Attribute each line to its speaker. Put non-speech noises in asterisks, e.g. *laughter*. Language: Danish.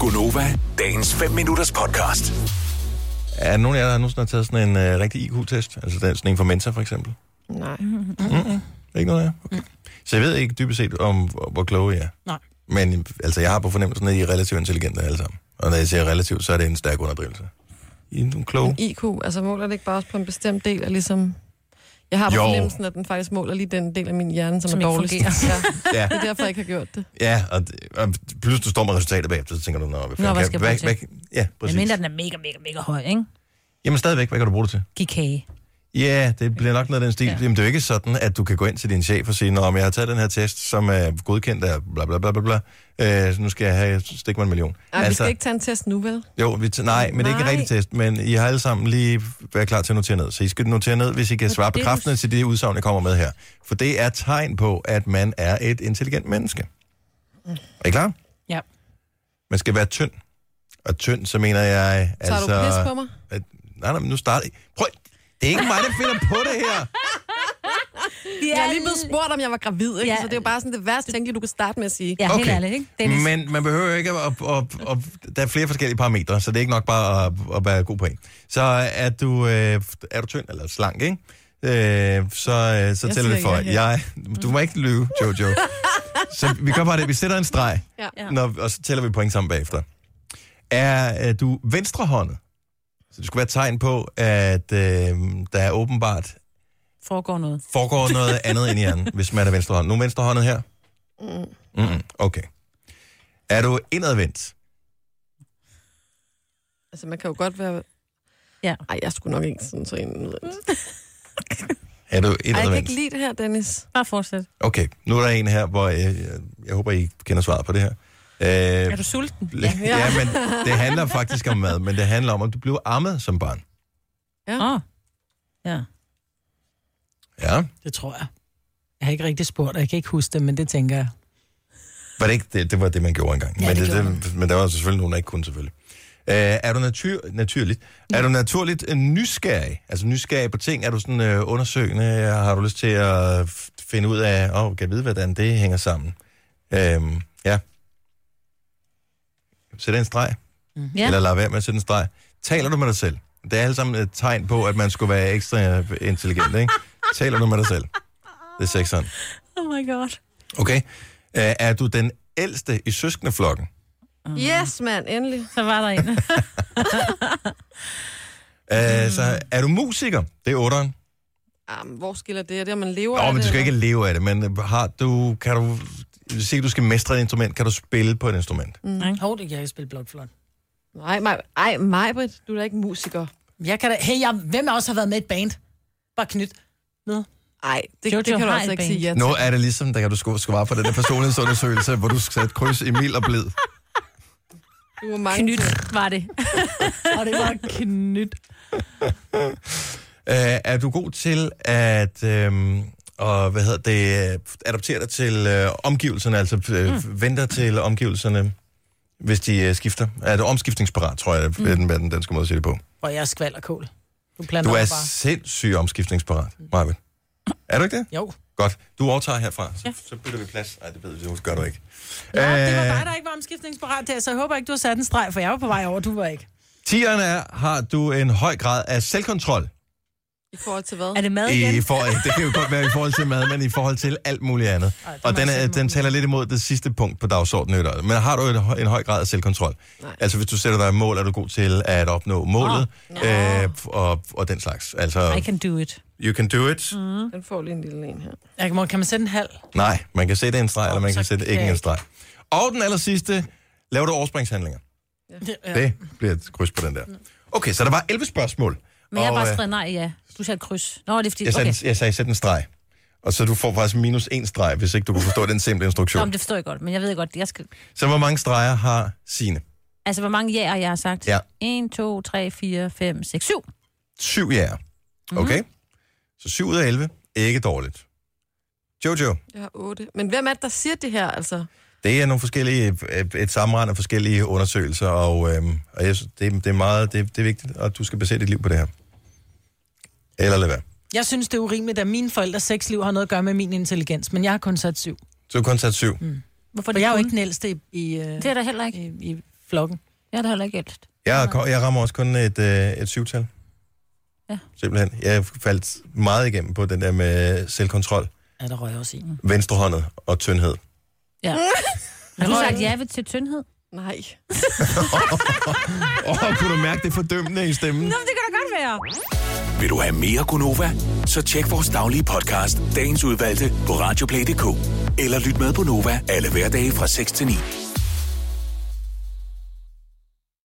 Speaker 1: Gunova, dagens 5 minutters podcast.
Speaker 2: Er der nogen af jer, der nogensinde har taget sådan en øh, rigtig IQ-test? Altså den- sådan en for Mensa, for eksempel?
Speaker 3: Nej.
Speaker 4: Mm.
Speaker 2: Ikke noget af jer? okay. Så jeg ved ikke dybest set, om hvor- hvor kloge I er.
Speaker 4: Nej.
Speaker 2: Men altså, jeg har på fornemmelsen, at I er relativt intelligente alle sammen. Og når jeg siger relativt, så er det en stærk underdrivelse. I er nogle kloge.
Speaker 4: *laughs*
Speaker 3: IQ, altså måler det ikke bare også på en bestemt del af ligesom... Jeg har på
Speaker 2: Jo.
Speaker 3: fornemmelsen, at den faktisk måler lige den del af min hjerne, som, er
Speaker 4: Som ikke
Speaker 3: dårligst.
Speaker 4: fungerer.
Speaker 3: Ja,
Speaker 2: Ja,
Speaker 3: *laughs* det er derfor, jeg ikke har gjort det.
Speaker 2: ja og, d- og pludselig du står med resultatet bagefter, så tænker du, Nå, hvad, fanden
Speaker 4: hvad
Speaker 2: kan-
Speaker 4: skal jeg
Speaker 2: hvad,
Speaker 4: bruge
Speaker 2: hvad,
Speaker 4: det
Speaker 2: Ja,
Speaker 4: Men
Speaker 2: præcis.
Speaker 4: mindre den er mega, mega, mega høj, ikke?
Speaker 2: Jamen stadigvæk, hvad kan du bruge det til?
Speaker 4: Giv kage.
Speaker 2: Ja, det bliver nok noget af den stil. Ja.
Speaker 4: Ja.
Speaker 2: Jamen, det er jo ikke sådan, at du kan gå ind til din chef og sige, Nå, men jeg har taget den her test, som er godkendt af bla bla bla bla bla, øh, så nu skal jeg have, stik mig en million. Altså,
Speaker 3: Ej, Ah, vi skal ikke tage en test nu, vel?
Speaker 2: Jo, vi t- nej, men det er ikke en
Speaker 4: Nej.
Speaker 2: rigtig test, men I har alle sammen lige været klar til at notere ned. Så I skal notere ned, hvis I kan
Speaker 4: Men
Speaker 2: svare
Speaker 4: det er jo
Speaker 2: bekræftende til det udsagn, jeg kommer med her. For det er tegn på, at man er et intelligent menneske. Er I klar?
Speaker 4: Ja.
Speaker 2: Man skal være tynd. Og tynd, så mener jeg...
Speaker 3: Tager
Speaker 2: altså,
Speaker 3: du pis på mig?
Speaker 2: At, nej, nej, men nu starter I. Prøv, det er ikke mig, der finder på det her.
Speaker 3: Jeg er lige blevet spurgt, om jeg var gravid, ikke? Ja.
Speaker 4: Ja.
Speaker 3: Så det er jo bare sådan det værste tænkelige, du kan starte med at sige.
Speaker 4: Ja, okay. helt
Speaker 2: Okay.
Speaker 4: ærligt, ikke? Dennis. Men...
Speaker 2: Men man behøver ikke at... at, at, at, der er flere forskellige parametre, så det er ikke nok bare at, at være god på en. Så er du, øh, er du tynd eller slank, ikke? Øh, så, øh, så
Speaker 3: Jeg
Speaker 2: tæller det
Speaker 3: siger
Speaker 2: for.
Speaker 3: ja, ja.
Speaker 2: Jeg, du må ikke lyve, Jojo. så vi gør bare det. Vi sætter en streg,
Speaker 3: Ja.
Speaker 4: Ja.
Speaker 2: når, og så tæller vi point sammen bagefter. Er øh, du venstrehåndet? Så det skulle være et tegn på, at øh, der er åbenbart
Speaker 4: Foregår noget.
Speaker 2: foregår
Speaker 3: *laughs*
Speaker 2: noget andet end i hjernen, hvis man er venstrehåndet. Nu er venstrehåndet her? Mm. Mm-mm. Okay. Er du indadvendt?
Speaker 3: Altså, man kan jo godt være...
Speaker 4: Ja.
Speaker 3: Ej, jeg skulle nok ikke sådan så en ud.
Speaker 2: Er du
Speaker 3: Ej, jeg kan
Speaker 2: indadvendt?
Speaker 3: ikke lide det her, Dennis.
Speaker 4: Bare fortsæt.
Speaker 2: Okay, nu er der en her, hvor jeg, jeg, jeg håber, I kender svaret på det her. Øh,
Speaker 4: Er du sulten?
Speaker 2: ja. ja, men det handler faktisk om mad, men det handler om, om du blev ammet som barn.
Speaker 3: Ja.
Speaker 4: Åh. Oh. Ja.
Speaker 2: Ja,
Speaker 5: Det tror jeg. Jeg har ikke rigtig spurgt, og jeg kan ikke huske det, men det tænker jeg.
Speaker 2: var det ikke? Det, det var det, man gjorde engang.
Speaker 4: Ja,
Speaker 2: men,
Speaker 4: det gjorde
Speaker 2: det, men der var altså selvfølgelig nogen, der ikke kunne selvfølgelig. Øh, er du natyr, naturligt? Er du naturligt øh, nysgerrig? Altså nysgerrig på ting? Er du sådan øh, undersøgende? Har du lyst til at f- finde ud af, åh, oh, kan jeg vide, hvordan det hænger sammen? Øh, ja. Sæt en streg.
Speaker 4: Mhm. Ja.
Speaker 2: ja. eller lade være med at sætte en streg. Taler du med dig selv? Det er alle sammen et tegn på, at man skulle være ekstra intelligent, ikke? Taler du med dig selv? Det er sekseren.
Speaker 4: Oh my god.
Speaker 2: Okay. Øh, Er du den ældste i søskendeflokken?
Speaker 3: Yes, mand, endelig.
Speaker 4: Så var
Speaker 5: *laughs*
Speaker 4: der en.
Speaker 2: Mm. Så er du musiker? Det er otteren.
Speaker 3: Jamen, hvor skiller det? Er det, om man lever
Speaker 2: Nå,
Speaker 3: af
Speaker 2: men
Speaker 3: det,
Speaker 2: du skal ikke
Speaker 3: eller?
Speaker 2: leve af det, men har du, kan du, se, du skal mestre et instrument, kan du spille på et instrument? Mm.
Speaker 5: Hov, det kan jeg spille blot flot.
Speaker 3: Nej, Maj, ej, Majbrit, du er da ikke musiker.
Speaker 5: Jeg kan da... Hey, jeg... hvem af os har været med i et band? Bare knyt.
Speaker 3: Nej, det,
Speaker 4: Jojo
Speaker 3: det kan du
Speaker 4: har
Speaker 3: altså
Speaker 4: et
Speaker 3: ikke
Speaker 4: band.
Speaker 3: sige ja til.
Speaker 2: Nu er det ligesom, der kan du sku- svare på den der personlighedsundersøgelse, hvor du skal sætte kryds i mild og blid.
Speaker 3: Du er mange
Speaker 4: Knyt var
Speaker 5: *laughs*
Speaker 4: det.
Speaker 5: Og det var knyt.
Speaker 2: Øh, er du god til at øhm, og, hvad hedder det, øh, adoptere dig til øh, omgivelserne, altså øh, mm. vente dig til omgivelserne, hvis de øh, skifter? Er du omskiftningsparat, tror jeg, mm. er den, er den danske måde at sige det på.
Speaker 5: Og jeg er skvald og kål. Du planter
Speaker 2: Du er
Speaker 5: mig bare.
Speaker 2: sindssygt omskiftningsparat, Marvin. Er du ikke det?
Speaker 5: Jo.
Speaker 2: Godt. Du overtager herfra, så, ja. så bytter vi plads. Nej, det ved du, det gør du ikke.
Speaker 5: Ja, det var
Speaker 2: Øh,
Speaker 5: dig, der ikke var omskiftningsparat der, så jeg håber ikke, du har sat en streg, for jeg var på vej over, du var ikke.
Speaker 2: Øh, Tieren er, har du en høj grad af selvkontrol.
Speaker 3: i forhold til hvad?
Speaker 4: Er det mad igen?
Speaker 2: I for, det kan jo godt være i forhold til mad, men i forhold til alt muligt andet.
Speaker 5: Ej, det må
Speaker 2: og den,
Speaker 5: jeg
Speaker 2: er,
Speaker 5: selv
Speaker 2: den
Speaker 5: må-
Speaker 2: taler lidt imod det sidste punkt på dagsordenen. Øtter. Men har du et, hø- en høj grad af selvkontrol? Nej. Altså hvis du sætter dig et mål, er du god til at opnå målet øh, og, og den slags.
Speaker 4: I
Speaker 2: Altså,
Speaker 4: can do it.
Speaker 2: you can do it. Mm.
Speaker 3: Den får lige en lille en her.
Speaker 5: Jeg kan, kan man sætte en halv?
Speaker 2: Nej, man kan sætte en streg, eller man
Speaker 5: så
Speaker 2: kan sætte
Speaker 5: kan
Speaker 2: ikke
Speaker 5: jeg
Speaker 2: en
Speaker 5: ikke.
Speaker 2: streg. Og den aller sidste, laver du overspringshandlinger?
Speaker 5: Ja.
Speaker 2: Det bliver et kryds på den der. Okay, så der var 11 spørgsmål.
Speaker 4: Men jeg har
Speaker 2: Og,
Speaker 4: bare
Speaker 2: øh,
Speaker 4: skrevet nej, ja. Du sagde kryds. Nå, det er fordi...
Speaker 2: jeg, sagde,
Speaker 4: Okay.
Speaker 2: okay. jeg sagde, sæt en streg. Og så du får faktisk minus en streg, hvis ikke du kunne forstå den simple
Speaker 4: Nå,
Speaker 2: instruktion.
Speaker 4: men det forstår jeg godt, men jeg ved godt, jeg skal...
Speaker 2: Så hvor mange streger har sine?
Speaker 4: Altså, hvor mange ja'er jeg har sagt?
Speaker 2: Ja.
Speaker 4: 1, 2, 3, 4, 5, 6, 7.
Speaker 2: Syv jæger. Okay?
Speaker 4: Mhm.
Speaker 2: Mm-hmm. Så syv ud af 11. Ikke dårligt. Jojo,
Speaker 3: Jeg har otte. Men hvem er det, der siger det her, altså?
Speaker 2: det er nogle forskellige, et- et sammenrend af forskellige undersøgelser, og, øhm, og jeg synes, det, det er meget, det, det er vigtigt, at du skal basere dit liv på det her. Eller lad være.
Speaker 5: Jeg synes, det er urimeligt, at mine forældres sexliv har noget at gøre med min intelligens, men jeg har kun sat syv.
Speaker 2: Så du har kun sat syv. Mm.
Speaker 4: Hvorfor
Speaker 5: For jeg er jo ikke den ældste i, i, øh,
Speaker 4: Det er der heller ikke.
Speaker 5: i, i flokken.
Speaker 4: Jeg har da heller ikke ældst.
Speaker 2: Jeg, er ko- jeg rammer også kun et, øh, et syvtal.
Speaker 4: Ja.
Speaker 2: Simpelthen. Jeg faldt meget igennem på den der med selvkontrol,
Speaker 5: Ja, der røg jeg også i.
Speaker 2: venstrehåndet og tyndhed.
Speaker 4: Ja. Har du sagt ja ved til tyndhed?
Speaker 3: Nej.
Speaker 2: Åh, oh, kunne du mærke det fordømmende i stemmen?
Speaker 4: Nå, men det kan da godt være.
Speaker 1: Vil du have mere Gunova? Så tjek vores daglige podcast, dagens udvalgte, på radioplay.dk. Eller lyt med på Nova alle hverdage fra 6 til 9.